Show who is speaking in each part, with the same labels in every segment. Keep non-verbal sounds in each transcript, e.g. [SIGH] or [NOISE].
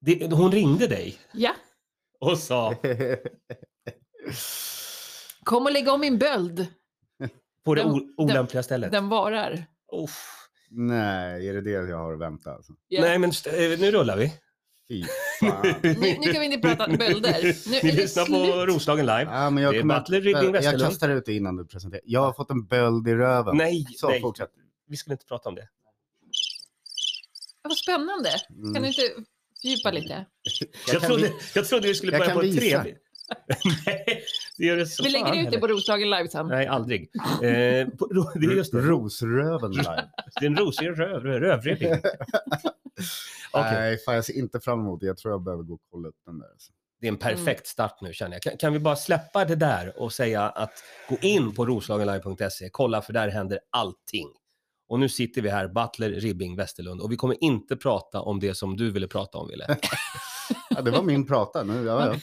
Speaker 1: Det, hon ringde dig
Speaker 2: Ja.
Speaker 1: och sa
Speaker 2: Kom och lägg om min böld.
Speaker 1: på det
Speaker 2: Den-
Speaker 1: o- olämpliga stället.
Speaker 2: Den varar.
Speaker 1: Uff.
Speaker 3: [LAUGHS] Nej, är det det jag har att vänta? Alltså?
Speaker 2: Ja.
Speaker 1: Nej, men st- eh, nu rullar vi.
Speaker 3: Fy
Speaker 1: [LAUGHS]
Speaker 3: fan.
Speaker 2: Nu, nu kan vi inte prata bölder. Nu
Speaker 1: Ni
Speaker 2: är det
Speaker 1: lyssnar på
Speaker 2: slut.
Speaker 1: Roslagen live.
Speaker 3: Ja, men jag
Speaker 1: Det är
Speaker 3: kommer
Speaker 1: Matle Ribbing
Speaker 3: att, jag
Speaker 1: Westerlund.
Speaker 3: kastar ut det innan du presenterar. Jag har fått en böld i röven.
Speaker 1: Nej,
Speaker 3: Så,
Speaker 1: nej.
Speaker 3: fortsätt.
Speaker 1: Vi skulle inte prata om det.
Speaker 2: Ja, Vad spännande. Kan du
Speaker 3: Mm.
Speaker 2: inte fördjupa lite?
Speaker 1: Jag,
Speaker 3: Jag kan
Speaker 1: trodde,
Speaker 3: vi-
Speaker 1: jag trodde vi skulle
Speaker 3: Jag
Speaker 1: börja
Speaker 3: kan
Speaker 1: på ett
Speaker 3: visa.
Speaker 1: trevligt... [LAUGHS] nej, det gör det så
Speaker 2: Vi
Speaker 1: fan
Speaker 2: lägger ut det
Speaker 1: heller.
Speaker 2: på Roslagen live sen.
Speaker 1: Nej, aldrig. Eh, på, [LAUGHS] ro- det är just det.
Speaker 3: Rosröven live.
Speaker 1: Det är en rosig röv, rövrevling. [LAUGHS]
Speaker 3: [LAUGHS]
Speaker 1: Okej,
Speaker 3: Nej, fan, jag ser inte fram emot det. Jag tror jag behöver gå och kolla upp den där. alltså.
Speaker 1: Det är en perfekt start nu känner jag. Kan, kan vi bara släppa det där och säga att gå in på roslagenlive.se, kolla för där händer allting. Och nu sitter vi här, Butler, Ribbing, Westerlund och vi kommer inte prata om det som du ville prata om,
Speaker 3: [LAUGHS]
Speaker 1: Ville.
Speaker 3: Ja, det var min prata
Speaker 1: [LAUGHS]
Speaker 3: nu. Ja,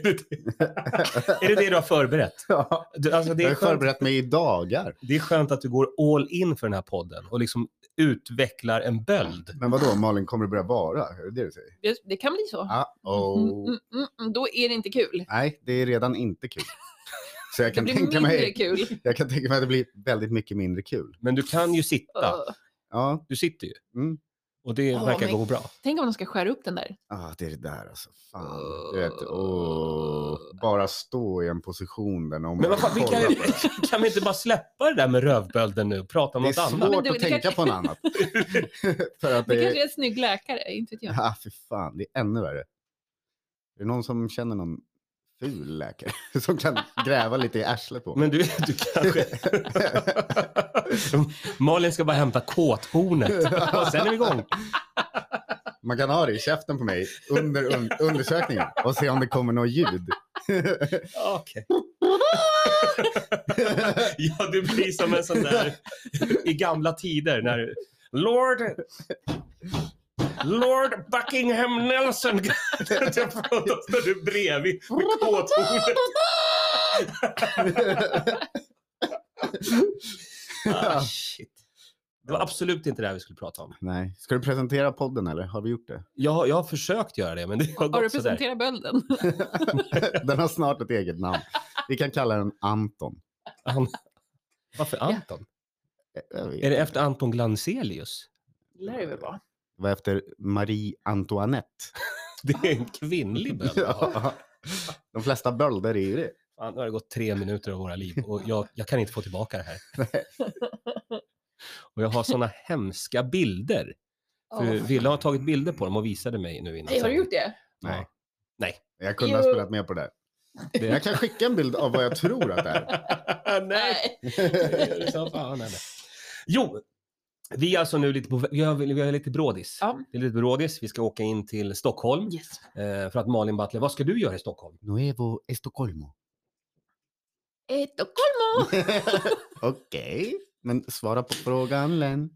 Speaker 3: [LAUGHS]
Speaker 1: är det det du har förberett?
Speaker 3: ja.
Speaker 1: Du, alltså, det,
Speaker 3: Jag
Speaker 1: är
Speaker 3: har
Speaker 1: skönt,
Speaker 3: förberett mig i dagar.
Speaker 1: det är skönt att du går all in för den här podden och liksom utvecklar en böld.
Speaker 3: Men vadå, Malin, kommer det börja vara? Är det det du säger?
Speaker 2: Det, det kan bli så.
Speaker 3: Ah,
Speaker 2: Mm,
Speaker 3: oh.
Speaker 2: mm, mm, mm. Då är det inte kul.
Speaker 3: Nej, det är redan
Speaker 2: [LAUGHS]
Speaker 3: inte kul. Så jag
Speaker 2: Det
Speaker 3: kan,
Speaker 2: blir mindre
Speaker 3: tänka mig,
Speaker 2: kul.
Speaker 3: jag kan tänka mig att det blir väldigt mycket mindre kul.
Speaker 1: Men du kan ju sitta.
Speaker 2: Åh.
Speaker 3: Ja,
Speaker 1: Du sitter ju.
Speaker 3: Mm.
Speaker 1: Och det
Speaker 2: Åh,
Speaker 1: verkar
Speaker 2: men-
Speaker 1: gå bra.
Speaker 2: Tänk om de ska skära upp den där.
Speaker 3: ah, det är det där alltså. Fan, du vet, åh. Bara stå i en position där någon
Speaker 1: Men vad fan, vi
Speaker 3: kollar
Speaker 1: kan,
Speaker 3: på en.
Speaker 1: [LAUGHS] kan vi inte bara släppa det där med rövbölden nu och prata om
Speaker 3: Det är
Speaker 1: något annat?
Speaker 2: Men
Speaker 3: svårt
Speaker 2: du,
Speaker 3: att
Speaker 2: det
Speaker 3: tänka
Speaker 2: kanske-
Speaker 3: på något annat. [LAUGHS] För att
Speaker 2: Det
Speaker 3: det
Speaker 2: kanske
Speaker 3: är...
Speaker 2: är en snygg läkare, inte vet jag.
Speaker 3: Ah, fy fan, det är ännu värre. Är det någon som känner någon ful läkare [LAUGHS] som kan gräva lite i arslet på mig?
Speaker 1: Men du, du kanske... [LAUGHS] Malin ska bara hämta kåthornet och sen är vi igång.
Speaker 3: Man kan ha det i käften på mig under un undersökningen och se om det kommer något ljud. [LAUGHS]
Speaker 1: Okej. [LAUGHS] ja, du blir som en sån där i gamla tider när Lord... Lord Buckingham Nelson [LAUGHS] står du bredvid med kåthornet. Ah, shit. Det var absolut inte det här vi skulle prata om.
Speaker 3: Nej. Ska du presentera podden eller? Har vi gjort det?
Speaker 1: Jag, jag har försökt göra det, men det har
Speaker 2: [LAUGHS] Har du
Speaker 1: gått sådär.
Speaker 2: presenterat bölden?
Speaker 3: [LAUGHS] Den har snart ett eget namn. Vi kan kalla den Anton.
Speaker 1: An... Varför Anton?
Speaker 3: Jag vet
Speaker 1: Är det
Speaker 3: inte.
Speaker 1: efter Anton Glanzelius?
Speaker 2: Det lär det väl vara.
Speaker 3: Det var efter Marie Antoinette.
Speaker 1: Det är en kvinnlig böld.
Speaker 3: Ja. [LAUGHS] De flesta bölder är ju det.
Speaker 1: Fan, nu har det gått tre minuter av våra liv och jag, jag kan inte få tillbaka det här. [LAUGHS] Och jag har såna hemska bilder. För
Speaker 2: Åh.
Speaker 1: Ville har tagit bilder på dem och visade mig nu innan.
Speaker 2: Nej, har du gjort det?
Speaker 3: Nej.
Speaker 1: Nej.
Speaker 3: Jag kunde ha
Speaker 2: Jo.
Speaker 3: spelat med på det där.
Speaker 1: Det-
Speaker 3: Jag kan skicka en bild av vad jag tror att det är.
Speaker 1: [LAUGHS] Nej. det gör du som fan, eller? Jo, vi är alltså nu lite på vä- vi har, vi har lite brådis.
Speaker 2: Ja.
Speaker 1: Det är lite brådis. Vi ska åka in till Stockholm
Speaker 2: Yes.
Speaker 1: eh, för att Malin Butler, vad ska du göra i Stockholm?
Speaker 3: [LAUGHS] Nuevo Estocolmo.
Speaker 2: Estocolmo!
Speaker 3: [LAUGHS] Okej, men svara på frågan Len.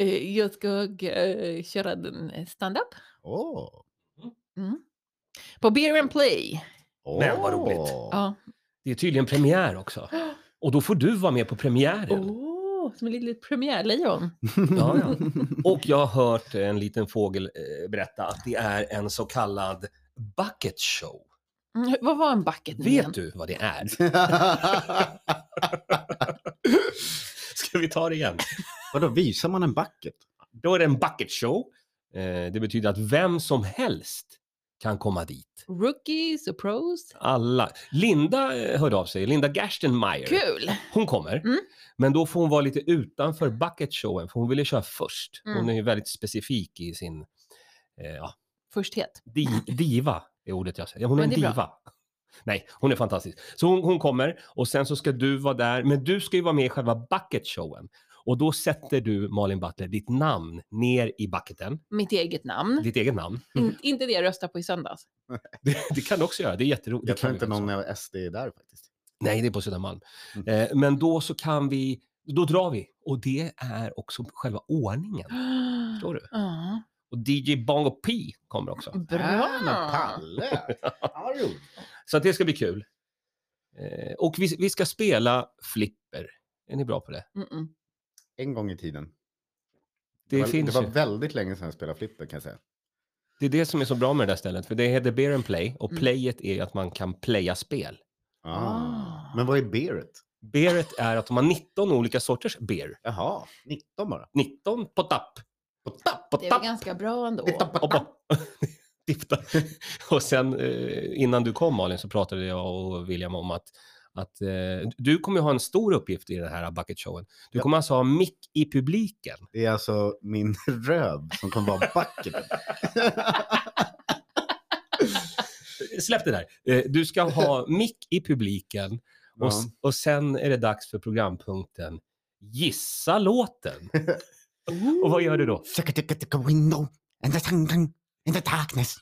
Speaker 2: Eh, Jag ska eh, köra den eh, stand-up Mm.
Speaker 3: Åh.
Speaker 2: på Beer and Play.
Speaker 3: Åh.
Speaker 1: Men vad roligt.
Speaker 2: Ja.
Speaker 1: Det är tydligen premiär
Speaker 2: [GASPS]
Speaker 1: också. Och då får du vara med på
Speaker 2: Oh.
Speaker 1: premiären.
Speaker 2: Åh, som ett litet premiärlejon. Mm,
Speaker 1: Ja, ja. [LAUGHS] Och jag har hört en liten fågel eh, berätta att det är en så kallad bucket show.
Speaker 2: Mm, Vad var en bucket nu igen?
Speaker 1: Vet du vad det är? [LAUGHS] Ska vi ta det igen?
Speaker 3: [LAUGHS] Vadå, visar man en bucket?
Speaker 1: Då är det en bucket show. Eh, det betyder att vem som helst kan komma dit.
Speaker 2: Rookies och pros.
Speaker 1: Alla. Linda eh, hörde av sig, Linda Gerstenmeier.
Speaker 2: Kul!
Speaker 1: Hon kommer.
Speaker 2: Mm.
Speaker 1: Men då får hon vara lite utanför bucket showen, för hon ville köra först. Hon
Speaker 2: Mm.
Speaker 1: är ju väldigt specifik i sin... Eh, ja,
Speaker 2: Försthet.
Speaker 1: Di- diva är ordet jag säger. Ja, Hon är
Speaker 2: Men
Speaker 1: en
Speaker 2: det är bra.
Speaker 1: diva. Nej, hon är fantastisk. Så hon, hon kommer och sen så ska du vara där. Men du ska ju vara med i själva bucket-showen. Och då sätter du, Malin Butler, ditt namn ner i bucketen.
Speaker 2: Mitt eget namn.
Speaker 1: Ditt eget namn. [LAUGHS]
Speaker 2: In, inte det jag röstade på i söndags.
Speaker 1: Det, det kan du också göra. Det är jätteroligt. Det
Speaker 3: Jag tror
Speaker 1: kan
Speaker 3: inte
Speaker 1: vi också.
Speaker 3: någon av SD är Mm. där faktiskt.
Speaker 1: Nej, det är på Södermalm. Eh, men då så kan vi... Då drar vi. Och det är också själva ordningen. Förstår du?
Speaker 2: Ja,
Speaker 1: Och DJ Bongo P kommer
Speaker 2: Mm.
Speaker 1: också.
Speaker 3: Ah, men
Speaker 2: bra!
Speaker 3: [LAUGHS] Palle! Ja, vad roligt.
Speaker 1: Så att det ska bli kul. Eh, och vi, vi ska spela flipper. Är ni bra på det?
Speaker 2: Mm-mm.
Speaker 3: en gång i tiden.
Speaker 1: Det
Speaker 3: var,
Speaker 1: finns
Speaker 3: det var
Speaker 1: ju.
Speaker 3: väldigt länge sedan jag spelade flipper kan jag säga.
Speaker 1: Det är det som är så bra med det där stället, för det heter Beer and Play och
Speaker 2: Mm.
Speaker 1: playet är att man kan playa spel.
Speaker 2: Ah.
Speaker 3: Men vad är beeret?
Speaker 1: Beeret är att de har 19 olika sorters beer.
Speaker 3: Jaha, 19 bara.
Speaker 1: 19 på tapp. På tapp, på
Speaker 2: Det är väl
Speaker 1: tapp.
Speaker 2: ganska bra ändå.
Speaker 1: Och bara- [LAUGHS] Titta. Och sen eh, innan du kom Malin så pratade jag och William om att, att eh, du kommer ju ha en stor uppgift i den här bucket showen. Du
Speaker 3: Ja.
Speaker 1: kommer alltså ha mick i publiken.
Speaker 3: Det är alltså min [LAUGHS] röv som kommer vara [LAUGHS] bucketen.
Speaker 1: Släpp det där. Eh, Du ska ha mick i publiken och, s- och sen är det dags för programpunkten Gissa låten. Och vad gör du då?
Speaker 3: Suck-a-duck-a-duck-a window and the sun sun in the darkness.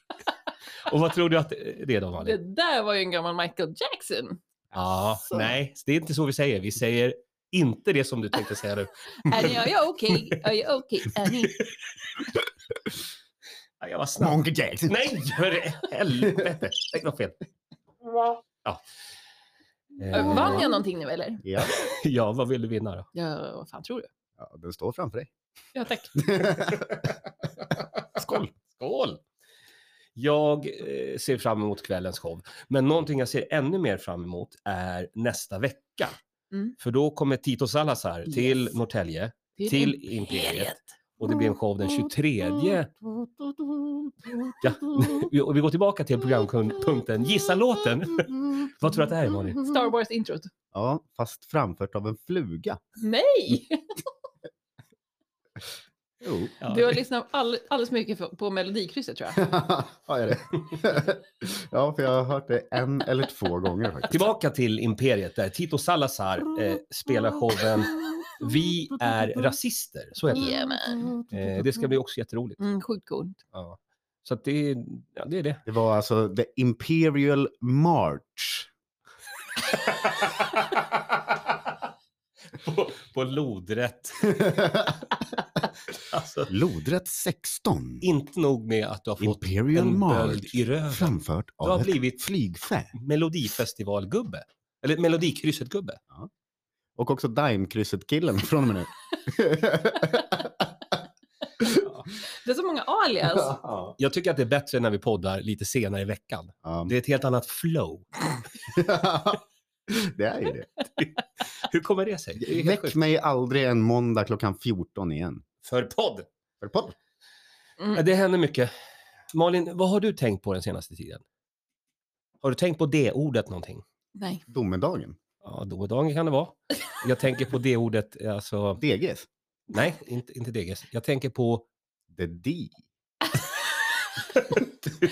Speaker 1: Och vad tror du att eh, det är då
Speaker 2: Det
Speaker 1: Malin?
Speaker 2: där var ju en gammal
Speaker 1: [LAUGHS]
Speaker 2: Michael Jackson.
Speaker 1: Ja,
Speaker 3: Alltså.
Speaker 1: nej, det är inte så vi säger. Vi säger inte det som du tänkte säga nu.
Speaker 2: Annie, är jag okej? Är jag okej, Annie?
Speaker 1: Ja, Jag var snabb.
Speaker 3: Monkey Jackson.
Speaker 1: Nej, för helvete! Det var fel. Ja.
Speaker 2: Äh,
Speaker 1: Eh,
Speaker 2: Vann jag någonting nu eller?
Speaker 3: Ja,
Speaker 1: ja, vad vill du vinna då?
Speaker 2: Ja, vad fan tror du?
Speaker 3: ja, den står framför dig. [LAUGHS]
Speaker 2: Ja, tack.
Speaker 1: Skål! [LAUGHS] Skål! Jag eh, ser fram emot kvällens show, men någonting jag ser ännu mer fram emot är nästa vecka.
Speaker 2: Mm.
Speaker 1: För då kommer Tito Salazar
Speaker 2: Yes.
Speaker 1: till Norrtälje, till Imperiet. Och det blir en show den 23. Ja. [LAUGHS] Vi- Och vi går tillbaka till programpunkten Gissa låten. [LAUGHS] Vad tror du att det här är, Malin?
Speaker 2: Star Wars-introt.
Speaker 3: Ja, fast framfört av en fluga.
Speaker 2: Nej!
Speaker 3: Jo.
Speaker 1: [LAUGHS] Ja.
Speaker 2: Du har lyssnat all, alldeles mycket för- på
Speaker 1: [LAUGHS]
Speaker 2: Melodikrysset tror jag.
Speaker 3: [LAUGHS] ja, är det. [LAUGHS] ja, för jag har hört det en eller två gånger faktiskt.
Speaker 1: Tillbaka till Imperiet där Tito Salazar eh, spelar showen Vi är rasister. Så heter
Speaker 2: Yeah,
Speaker 1: det. Eh, det ska bli också jätteroligt.
Speaker 2: Mm, sjukt cool.
Speaker 1: Ja. Så att det, är- ja, det är det.
Speaker 3: Det var alltså The Imperial March.
Speaker 1: på, på lodrätt. [LAUGHS] Alltså,
Speaker 3: Lodrätt 16.
Speaker 1: inte nog med att du har fått
Speaker 3: Imperial
Speaker 1: en böld
Speaker 3: March.
Speaker 1: i röven.
Speaker 3: Framfört
Speaker 1: Du har
Speaker 3: av ett
Speaker 1: blivit-
Speaker 3: flygfä.
Speaker 1: Melodifestivalgubbe. Eller Melodikrysset-gubbe.
Speaker 3: Och också Daimkrysset-killen från och med nu.
Speaker 2: Det är så många
Speaker 1: [LAUGHS]
Speaker 2: alias.
Speaker 1: Jag tycker att det är bättre när vi poddar lite senare i veckan.
Speaker 3: Ja.
Speaker 1: Det är ett helt annat flow.
Speaker 3: [LAUGHS] Det är ju det.
Speaker 1: Hur kommer det sig? Det är helt
Speaker 3: Väck
Speaker 1: sjukt.
Speaker 3: mig aldrig en måndag klockan 14 igen.
Speaker 1: För podd!
Speaker 3: För podd.
Speaker 1: Ja,
Speaker 2: Mm.
Speaker 1: det händer mycket. Malin, vad har du tänkt på den senaste tiden? Har du tänkt på det ordet någonting?
Speaker 2: Nej.
Speaker 3: Domedagen.
Speaker 1: Ja, domedagen kan det vara. Jag tänker på det ordet, alltså...
Speaker 3: DGs.
Speaker 1: Nej, inte, inte deges. Jag tänker på...
Speaker 3: The D.
Speaker 2: [LAUGHS]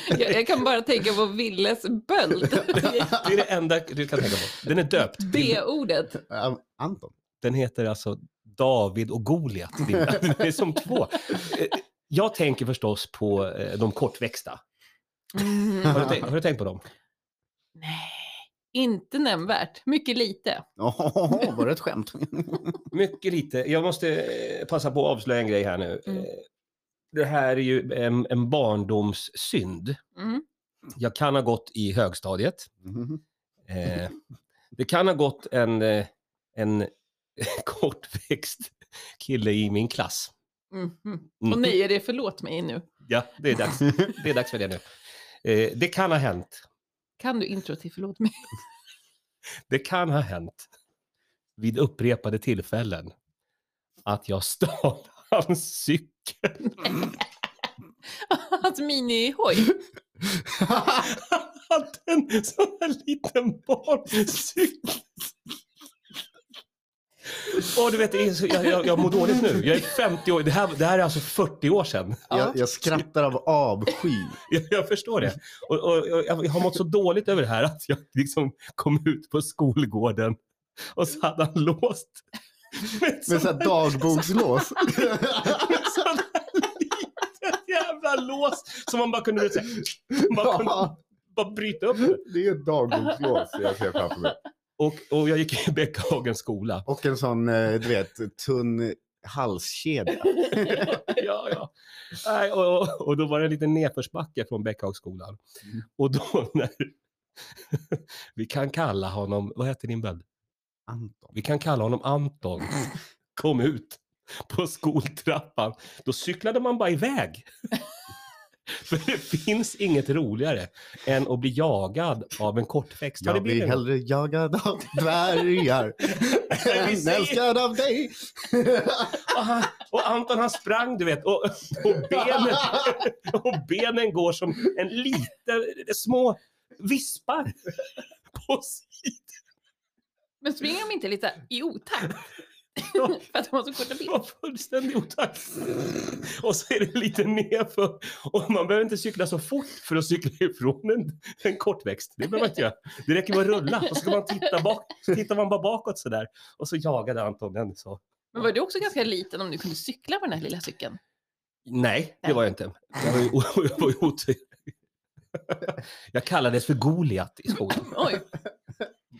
Speaker 2: Jag, jag kan bara tänka på Villes böld.
Speaker 1: [LAUGHS] Det är det enda du kan tänka på. Den är döpt. till-
Speaker 2: B-ordet.
Speaker 3: Am- Äh, Anton. [LAUGHS]
Speaker 1: Den heter alltså David och Goliat. Det är- det är som två. Eh, Jag tänker förstås på eh, de kortväxta. Har du,
Speaker 2: Mm.
Speaker 1: tänkt, har du tänkt på dem?
Speaker 2: Nej. Inte nämnvärt. Mycket lite.
Speaker 3: Åh, var det
Speaker 1: [LAUGHS]
Speaker 3: ett skämt?
Speaker 1: Mycket lite. Jag måste eh, passa på att avslöja en grej här nu.
Speaker 2: Mm.
Speaker 1: Eh, Det här är ju en, en barndomssynd.
Speaker 2: Mm.
Speaker 1: Jag kan ha gått i högstadiet. Eh, det kan ha gått en, eh, en [LAUGHS] kortväxt kille i min klass.
Speaker 2: Mm. Mm.
Speaker 1: Mm.
Speaker 2: Och nej, är det förlåt mig nu?
Speaker 1: Ja, det är dags, det är dags för det nu. Eh, det kan ha hänt.
Speaker 2: Kan du intro till förlåt mig?
Speaker 1: Det kan ha hänt vid upprepade tillfällen att jag stal [LAUGHS] hans cykel.
Speaker 2: [LAUGHS]
Speaker 1: [LAUGHS]
Speaker 2: Hans minihoj.
Speaker 1: Han hade en sån här liten barncykel. Åh, du vet, det är så, jag, jag, jag mår dåligt nu. Jag är 50 år. Det här, det här är alltså 40 år sedan.
Speaker 3: jag, jag skrattar av
Speaker 1: [LAUGHS]
Speaker 3: avsky.
Speaker 1: Jag, jag förstår det. Och, och, och jag har mått så dåligt över det här att jag liksom kom ut på skolgården och så hade han låst. [LAUGHS] Med
Speaker 3: Med
Speaker 1: [LAUGHS]
Speaker 3: såhär dagbokslås.
Speaker 1: sån här liten jävla lås som man bara kunde,
Speaker 3: [LAUGHS]
Speaker 1: du vet, så här, man kunde
Speaker 3: Ja,
Speaker 1: bara bryta upp. med.
Speaker 3: [LAUGHS] det är ett dagbokslås jag ser framför mig.
Speaker 1: Och, och jag gick i Bäckhagens
Speaker 3: [LAUGHS]
Speaker 1: skola.
Speaker 3: Och en sån, eh, du vet, tunn halskedja.
Speaker 1: Ja, ja. Nej, och- och, och då var det en liten nedförsbacke från Bäckhagsskolan.
Speaker 3: Mm.
Speaker 1: Och då när... [LAUGHS] Vi kan kalla honom, vad heter din böld?
Speaker 3: Anton.
Speaker 1: Vi kan kalla honom Anton.
Speaker 3: [LAUGHS]
Speaker 1: Kom ut på skoltrappan. Då cyklade man bara iväg. För det finns inget roligare än att bli jagad av en kortväxt. Har det
Speaker 3: Jag blir
Speaker 1: blivit något?
Speaker 3: hellre jagad av dvärgar
Speaker 1: [LAUGHS] vi
Speaker 3: än
Speaker 1: säger-
Speaker 3: älskad av dig.
Speaker 1: Och, han, och Anton han sprang du vet och, och,
Speaker 3: [LAUGHS]
Speaker 1: benen, och benen går som en liten, små vispar. På
Speaker 2: Men springer de inte lite i otakt?
Speaker 1: [LAUGHS] Ja.
Speaker 2: [LAUGHS] För att de har så korta ben?
Speaker 1: var fullständig otakt. Och så är det lite nerför. Och man behöver inte cykla så fort för att cykla ifrån en, en kortväxt. Det behöver man inte göra. Det räcker med att rulla och så kan man titta bak. Tittar man bara bakåt sådär. Och så jagade Anton den så.
Speaker 2: Men var du också ganska liten om du kunde cykla på den här lilla cykeln?
Speaker 1: Nej, det var jag inte. Jag var ju, o- [LAUGHS] jag var ju otur. Jag kallades för Goliat i
Speaker 2: [LAUGHS]
Speaker 1: skolan.
Speaker 2: Oj,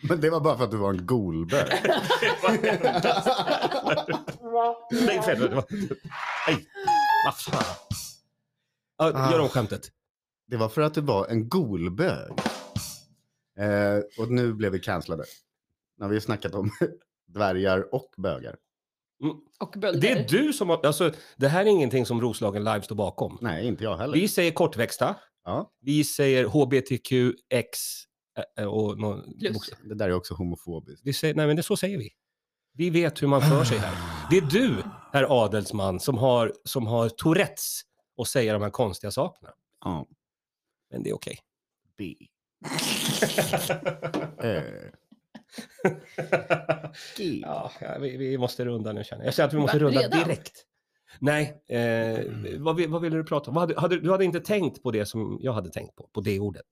Speaker 3: Men det var bara för att du var
Speaker 1: [LAUGHS]
Speaker 3: en golbög.
Speaker 1: Det var endast- Nej, fel. Det var... Nej, vad fan. Ja, Gör om skämtet.
Speaker 3: Det var för att du var en golbög. Eh, och nu blev vi cancellade. När vi snackat om [LAUGHS] dvärgar och bögar.
Speaker 2: och bölder.
Speaker 1: Det är du som har, alltså, det här är ingenting som Roslagen Live står bakom.
Speaker 3: Nej, inte jag heller.
Speaker 1: Vi säger kortväxta,
Speaker 3: Ja,
Speaker 1: vi säger hbtqx eh, eh, och någon,
Speaker 2: Plus.
Speaker 1: bokstav.
Speaker 3: det där är också homofobiskt.
Speaker 1: vi säger, nej men det, så säger vi. Vi vet hur man för sig
Speaker 3: Ah,
Speaker 1: här. Det är du, herr adelsman, som har, som har Tourettes och säger de här konstiga sakerna.
Speaker 3: Ja,
Speaker 1: Men det är okej.
Speaker 3: B. eh, G.
Speaker 1: ja, ja, vi, vi måste runda nu känner jag. Jag känner att vi måste
Speaker 2: Va?
Speaker 1: runda
Speaker 2: Redan?
Speaker 1: direkt. Nej, eh, vad, vi- vad ville du prata om? Vad hade, hade, du hade inte tänkt på det som jag hade tänkt på, på det ordet.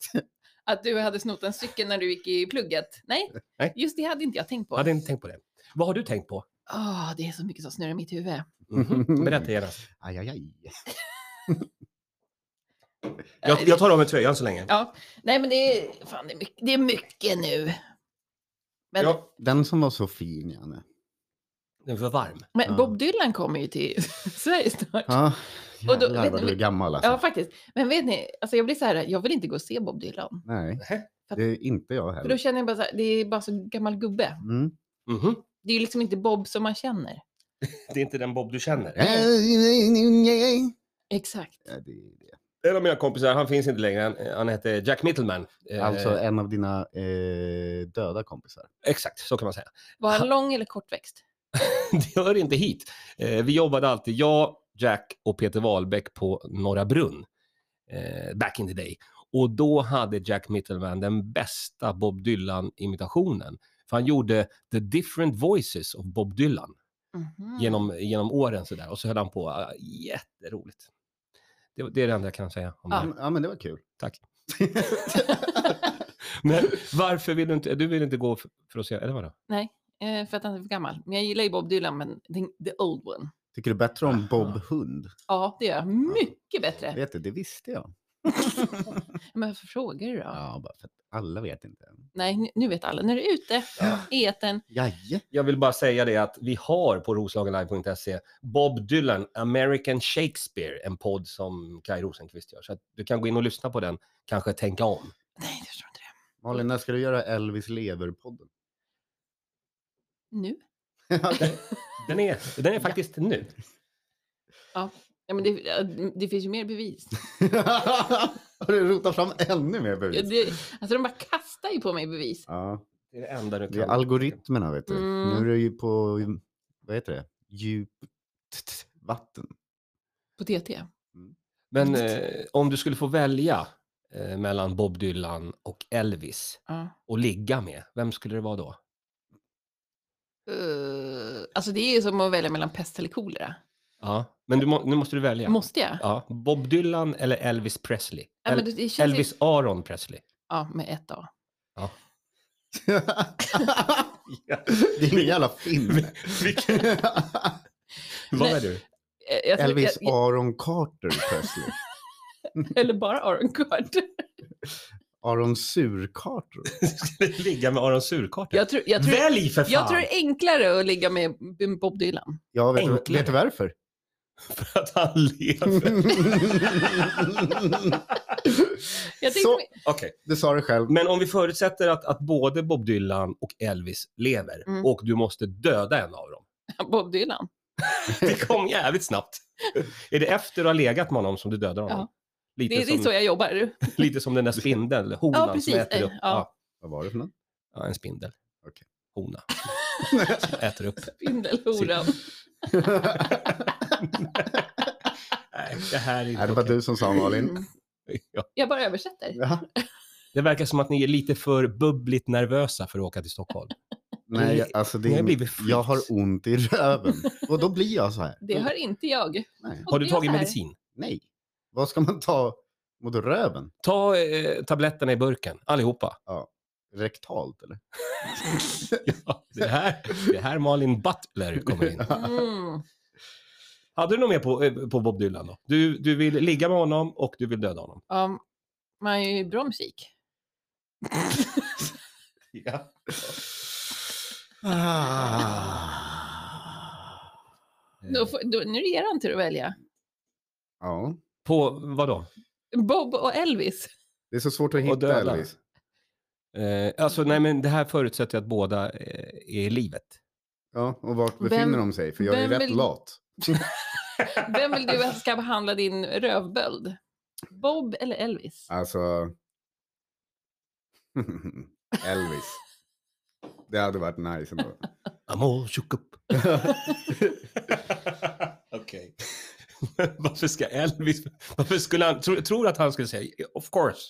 Speaker 2: Att du hade snott en cykel när du gick i plugget. Nej,
Speaker 1: Nej.
Speaker 2: just det hade inte jag tänkt på.
Speaker 1: Jag hade inte tänkt på det. Vad har du tänkt på?
Speaker 2: Åh, det är så mycket som snurrar i mitt huvud.
Speaker 1: [LAUGHS] Mhm. Berätta gärna.
Speaker 3: Aj, aj, aj.
Speaker 1: Jag, jag tar av mig tröjan så länge.
Speaker 2: Ja, nej men det är, fan, det är, mycket, det är mycket nu. Men,
Speaker 1: Ja.
Speaker 3: Den som var så fin, Janne.
Speaker 1: Den är för varm.
Speaker 2: men
Speaker 3: Ja.
Speaker 2: Bob Dylan kommer
Speaker 1: [LAUGHS]
Speaker 2: ju till Sverige snart. Ja.
Speaker 3: Ja,
Speaker 2: Och då-
Speaker 3: Ah, jävlar
Speaker 2: vet
Speaker 3: vad
Speaker 2: ni-
Speaker 3: du är gammal alltså.
Speaker 2: faktiskt. Men vet ni, alltså jag blir så här, jag vill inte gå och se Bob Dylan.
Speaker 3: Nej,
Speaker 1: Nähä.
Speaker 3: det är inte jag
Speaker 2: För då
Speaker 3: heller.
Speaker 2: känner jag bara så här, det är bara så gammal gubbe.
Speaker 3: Mm.
Speaker 1: Mhm.
Speaker 2: Det är ju liksom inte Bob som man känner.
Speaker 1: Det är inte den Bob du känner.
Speaker 2: Exakt.
Speaker 3: Ja, det är det.
Speaker 1: En av mina kompisar, han finns inte längre, han, han heter Jack Mittelman. Eh,
Speaker 3: Alltså en av dina eh, döda kompisar.
Speaker 1: Exakt, så kan man säga.
Speaker 2: Var han lång eller kortväxt?
Speaker 1: Det hör inte hit. Eh, vi jobbade alltid, jag, Jack och Peter Wahlbeck på Norra Brunn. Eh, back in the day. Och då hade Jack Mittelman den bästa Bob Dylan-imitationen. För han gjorde The Different Voices of Bob Dylan.
Speaker 2: Mhm.
Speaker 3: Mm.
Speaker 1: genom, genom åren sådär. Och så höll han på. ah, Jätteroligt. Det, det är det enda jag kan säga om det.
Speaker 3: Ja,
Speaker 1: här.
Speaker 3: men- ja, men det var kul.
Speaker 1: Tack. Men varför vill du inte, du vill inte gå för, för att se, eller vadå?
Speaker 2: Eh, för att han är för gammal. Men jag gillar ju Bob Dylan, men the, the old one.
Speaker 3: Tycker du bättre om
Speaker 1: Aha.
Speaker 3: Bob Hund?
Speaker 2: Ja, det gör jag. Mycket bättre.
Speaker 3: Vet du, det visste jag.
Speaker 2: Men varför frågar du då?
Speaker 3: Ja, bara för att alla vet inte.
Speaker 2: Nej, nu- nu vet alla. Nu är det ute i etern.
Speaker 3: Jaje.
Speaker 1: Jag vill bara säga det att vi har på roslagenlive.se Bob Dylan, American Shakespeare, en podd som Kai Rosenqvist gör. Så att du kan gå in och lyssna på den, kanske tänka om.
Speaker 2: Nej, jag förstår inte det.
Speaker 3: Malin, när ska du göra Elvis lever-podden?
Speaker 2: Nu?
Speaker 1: Den är, den är faktiskt nu.
Speaker 2: Ja, men det, ja, det finns ju
Speaker 1: [LAUGHS]
Speaker 2: mer bevis.
Speaker 3: [LAUGHS] Har du rotat fram ännu mer
Speaker 2: Ja,
Speaker 3: bevis?
Speaker 2: Det, alltså de bara kastar ju på mig bevis.
Speaker 3: Ja,
Speaker 1: Det är det enda du
Speaker 3: det
Speaker 1: kan.
Speaker 3: är algoritmerna vet du.
Speaker 2: Mm.
Speaker 3: Nu är du ju på, vad heter det, djupt vatten. [LAUGHS]
Speaker 2: På TT.
Speaker 1: Men eh, om du skulle få välja eh, mellan Bob Dylan och Elvis
Speaker 2: Ja.
Speaker 1: och ligga med, vem skulle det vara då?
Speaker 2: Eh, alltså det är ju som att välja mellan pest eller kolera.
Speaker 1: Ja, men du må, nu måste du välja.
Speaker 2: Måste jag?
Speaker 1: Ja, Bob Dylan eller Elvis Presley?
Speaker 2: Ja, men
Speaker 1: El,
Speaker 2: det, det känns Ju,
Speaker 1: Elvis Aron Presley.
Speaker 2: ja, med ett A.
Speaker 3: Det är en jävla film.
Speaker 1: Vad
Speaker 2: Nej.
Speaker 1: är du? [LAUGHS]
Speaker 2: Eh, alltså,
Speaker 3: [LAUGHS] Elvis
Speaker 2: jag,
Speaker 3: Aaron Carter Presley.
Speaker 2: eller bara Aron Carter.
Speaker 3: Aron Sur-Carter.
Speaker 1: Ligga med Aron Surkarten?
Speaker 2: Jag tror, jag tror,
Speaker 1: Välj för fan!
Speaker 2: jag tror det är enklare att ligga med Bob Dylan.
Speaker 3: Ja, vet, du,
Speaker 1: Enklare.
Speaker 3: vet
Speaker 2: [LAUGHS]
Speaker 3: du varför?
Speaker 1: För att han lever.
Speaker 2: Jag tänkte,
Speaker 3: Så,
Speaker 2: mig-
Speaker 1: Okej,
Speaker 3: du sa det själv.
Speaker 1: men om vi förutsätter att, att både Bob Dylan och Elvis lever
Speaker 2: Mm.
Speaker 1: och du måste döda en av dem.
Speaker 2: Bob Dylan.
Speaker 1: Det kom jävligt snabbt. Är det efter du har legat med honom som du dödar honom?
Speaker 2: Ja.
Speaker 1: Lite,
Speaker 2: Det är, det är så
Speaker 1: som,
Speaker 2: jag jobbar.
Speaker 1: [LAUGHS] lite som den där spindeln, eller honan
Speaker 2: precis.
Speaker 1: som äter upp.
Speaker 2: Ja.
Speaker 1: Ja.
Speaker 3: Vad var det
Speaker 2: [LAUGHS]
Speaker 3: för något?
Speaker 1: ja, en spindel.
Speaker 3: Okej.
Speaker 1: Hona. äter upp.
Speaker 2: Spindelhora.
Speaker 1: Nej, det här är inte
Speaker 3: Nej, det var
Speaker 1: okej.
Speaker 3: du som sa Malin.
Speaker 2: Mm.
Speaker 1: [LAUGHS] Ja.
Speaker 2: Jag bara översätter.
Speaker 3: Ja.
Speaker 1: Det verkar som att ni är lite för bubbligt nervösa för att åka till
Speaker 2: [LAUGHS]
Speaker 1: Stockholm.
Speaker 3: Nej,
Speaker 1: Ni-
Speaker 3: jag- alltså
Speaker 1: ni
Speaker 3: det
Speaker 1: har
Speaker 3: är,
Speaker 1: blivit freaks.
Speaker 3: jag har ont i röven. Och då blir jag så här.
Speaker 2: Det hör inte jag.
Speaker 3: Mm. Nej.
Speaker 1: Har du
Speaker 2: Och det är
Speaker 1: tagit
Speaker 2: så här.
Speaker 1: medicin?
Speaker 3: Nej. Vad ska man ta mot röven?
Speaker 1: Ta eh, tabletterna i burken, allihopa.
Speaker 3: Rektalt eller?
Speaker 1: Ja, det, här, det här Malin Butler kommer in.
Speaker 2: Mm.
Speaker 1: Hade du något mer på, eh, på Bob Dylan då? Du, du vill ligga med honom och du vill döda honom.
Speaker 2: Ja, man gör ju bra musik.
Speaker 1: Ja.
Speaker 3: Mm.
Speaker 1: Eh,
Speaker 2: Då får, då, nu är det er tur att välja.
Speaker 3: Ja,
Speaker 1: På vadå?
Speaker 2: Bob och Elvis.
Speaker 3: det är så svårt att
Speaker 1: Och
Speaker 3: hitta
Speaker 1: döda.
Speaker 3: Elvis.
Speaker 1: Eh, alltså nej men det här förutsätter att båda eh, är i livet.
Speaker 3: Ja, och vart befinner
Speaker 2: Vem-
Speaker 3: de sig? För jag är
Speaker 2: vem
Speaker 3: rätt
Speaker 2: vill-
Speaker 3: lat.
Speaker 2: Vem vill du att ska behandla din rövböld? Bob eller Elvis?
Speaker 3: Alltså... [LAUGHS] Elvis. Det hade varit nice ändå.
Speaker 1: Amor shook up. [LAUGHS] Okej. [LAUGHS] varför ska Elvis, varför skulle han, tro, tror du att han skulle säga of course.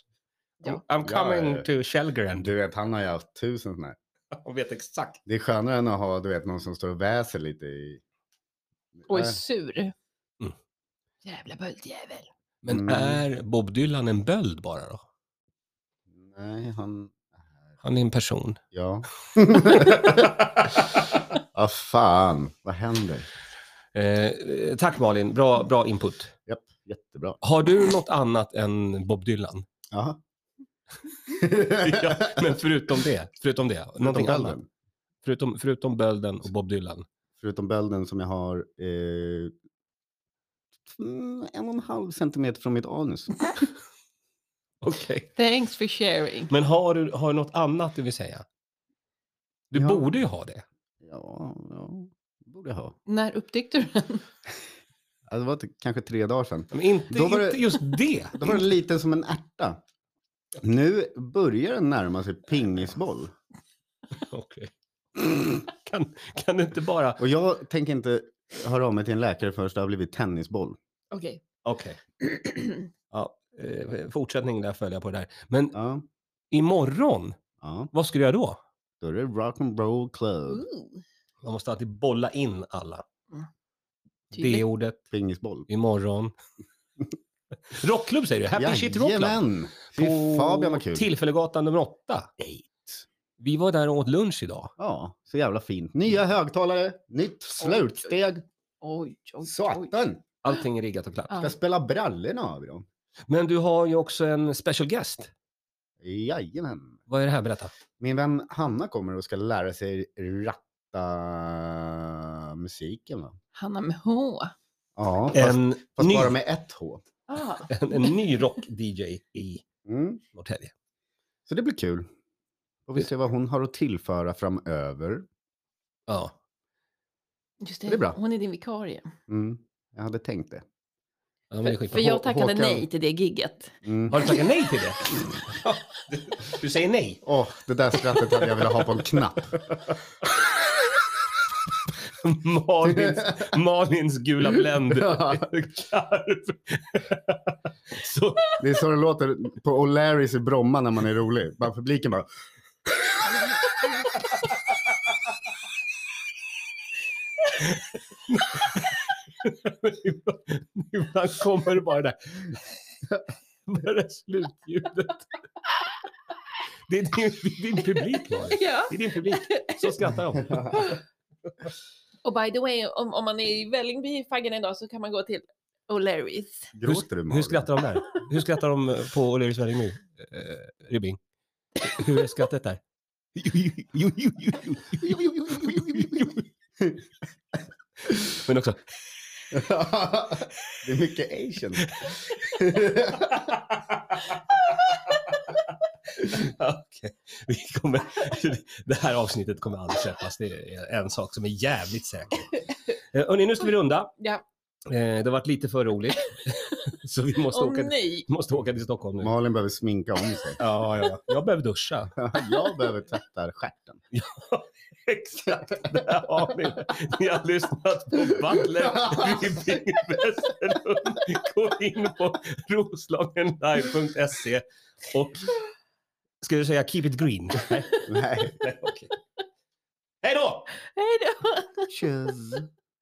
Speaker 2: Ja.
Speaker 1: I'm coming
Speaker 3: Ja, ja, ja.
Speaker 1: to Shelgren.
Speaker 3: Du vet, han har ju haft tusen sådana här.
Speaker 1: Han vet exakt.
Speaker 3: Det är skönare än att ha du vet, någon som står och väser lite i...
Speaker 2: Och är
Speaker 3: Nej.
Speaker 2: sur.
Speaker 1: Mm.
Speaker 2: Jävla böldjävel.
Speaker 1: Men
Speaker 3: Mm.
Speaker 1: är Bob Dylan en böld bara då?
Speaker 3: Nej, han...
Speaker 1: Han är en person. [LAUGHS]
Speaker 3: Ja. ah, fan. Vad händer?
Speaker 1: Eh, eh, tack Malin, bra, bra input.
Speaker 3: Japp, jättebra.
Speaker 1: Har du något annat än Bob Dylan?
Speaker 3: Jaha.
Speaker 1: ja, men förutom det? Förutom det?
Speaker 3: Förutom
Speaker 1: någonting annat?
Speaker 3: bölden.
Speaker 1: Förutom, förutom bölden och Bob
Speaker 3: [LAUGHS]
Speaker 1: Dylan?
Speaker 3: Förutom bölden som jag har eh, mm, en och en halv centimeter från mitt anus.
Speaker 1: Okej.
Speaker 2: Thanks for sharing.
Speaker 1: Men har du, har du något annat du vill säga? Du
Speaker 3: Ja.
Speaker 1: borde ju ha det.
Speaker 3: Ja, ja. det Borde jag ha.
Speaker 2: När upptäckte du den?
Speaker 3: Ja, Det var typ kanske tre dagar sedan.
Speaker 1: Men inte,
Speaker 3: Då var det-
Speaker 1: inte just
Speaker 3: [LAUGHS]
Speaker 1: det.
Speaker 3: Då var den liten som en ärta. Nu börjar den närma sig pingisboll.
Speaker 1: Okej. [LAUGHS] Kan, kan du inte bara...
Speaker 3: Och jag tänker inte höra av mig till en läkare förrän det har blivit tennisboll.
Speaker 2: Okej.
Speaker 3: [CLEARS THROAT]
Speaker 1: Okej. Ja, eh, fortsättning där följer jag på det där. Men
Speaker 3: Ja,
Speaker 1: imorgon,
Speaker 3: ja.
Speaker 1: vad ska du göra då?
Speaker 3: Då är det rock'n'roll club.
Speaker 2: Ooh,
Speaker 1: Man måste alltid bolla in alla.
Speaker 2: Mm. Tydligt.
Speaker 1: Det ordet
Speaker 3: Pingisboll.
Speaker 1: imorgon. [LAUGHS] Rockklubb säger du, Happy Shit Rockklubb.
Speaker 3: Jajamän! Fy Fabian vad kul.
Speaker 1: Tillfällegatan nummer åtta. Vi var där och åt lunch idag.
Speaker 3: Ja, så jävla fint. Nya
Speaker 1: Mm.
Speaker 3: högtalare, nytt slutsteg.
Speaker 2: Oj, oj, oj.
Speaker 3: Satan!
Speaker 1: Allting är riggat och klart.
Speaker 2: Ja.
Speaker 3: Ska spela brallorna av dem.
Speaker 1: Men du har ju också en special guest.
Speaker 3: Jajamän.
Speaker 1: Vad är det här? Berätta.
Speaker 3: Min vän Hanna kommer och ska lära sig ratta musiken va?
Speaker 2: Hanna med H.
Speaker 3: Ja, fast,
Speaker 1: En,
Speaker 3: fast
Speaker 1: ny,
Speaker 3: bara med ett H.
Speaker 2: Ah,
Speaker 1: en, en ny rock-DJ i
Speaker 3: Mm.
Speaker 1: Norrtälje.
Speaker 3: Så det blir kul. Och vi ser vad hon har att tillföra framöver.
Speaker 1: Ja.
Speaker 2: just
Speaker 3: Det är bra.
Speaker 2: Hon är din vikarie.
Speaker 3: Mm. Jag hade tänkt det.
Speaker 1: ja men det är
Speaker 2: för för
Speaker 1: skitbra.
Speaker 3: Hå-
Speaker 2: jag tackade
Speaker 3: Håkan-
Speaker 2: nej till det
Speaker 1: [LAUGHS]
Speaker 2: gigget.
Speaker 3: Mm.
Speaker 1: Har du tackat nej till
Speaker 3: [LAUGHS]
Speaker 1: det? Ja, du- Du säger nej?
Speaker 3: Åh, det där skrattet hade jag velat ha på en
Speaker 1: [LAUGHS]
Speaker 3: knapp.
Speaker 1: Malins,
Speaker 3: [LAUGHS]
Speaker 1: Malins gula Blend.
Speaker 3: Ja.
Speaker 1: Karv. [LAUGHS] Så,
Speaker 3: Det är så det låter på O'Larrys i Bromma när man är rolig. Bara publiken bara...
Speaker 1: ibland- ibland kommer det bara det där. Det där slutljudet. Det är din, det är din publik, Malin.
Speaker 2: Ja.
Speaker 1: Det är din publik. Så skrattar de.
Speaker 2: Och by the way, om, om man är i Vällingby i Faggen idag så kan man gå till O'Larrys.
Speaker 3: Gråter du
Speaker 1: Hur
Speaker 3: Malin?
Speaker 1: skrattar de där? Hur skrattar de på O'Learys Valley nu, eh, Ribbing? Hur är skrattet där? Men också...
Speaker 3: [LAUGHS] det är mycket asian.
Speaker 1: [LAUGHS] Okej. Vi kommer, [LAUGHS] det här avsnittet kommer aldrig släppas, det är en sak som är jävligt säker. Eh, Hörni, nu ska vi runda.
Speaker 2: Ja.
Speaker 1: Eh, Det har varit lite för roligt. [LAUGHS] så vi måste,
Speaker 2: Åh
Speaker 1: åka,
Speaker 2: nej!
Speaker 1: måste åka till Stockholm nu.
Speaker 3: Malin behöver sminka om sig. [LAUGHS]
Speaker 1: Ja, ja, jag behöver duscha.
Speaker 3: Jag behöver tvätta stjärten.
Speaker 1: [LAUGHS] Exakt, där har ni det. Ni har lyssnat på [LAUGHS] Butler Ribbing Westerlund. Gå in på roslagenlive.se och ska du säga keep it [LAUGHS] green? Nej,
Speaker 3: Nej.
Speaker 1: [LAUGHS] nej, okej. Hej då!
Speaker 2: Hej då!
Speaker 3: Tjus.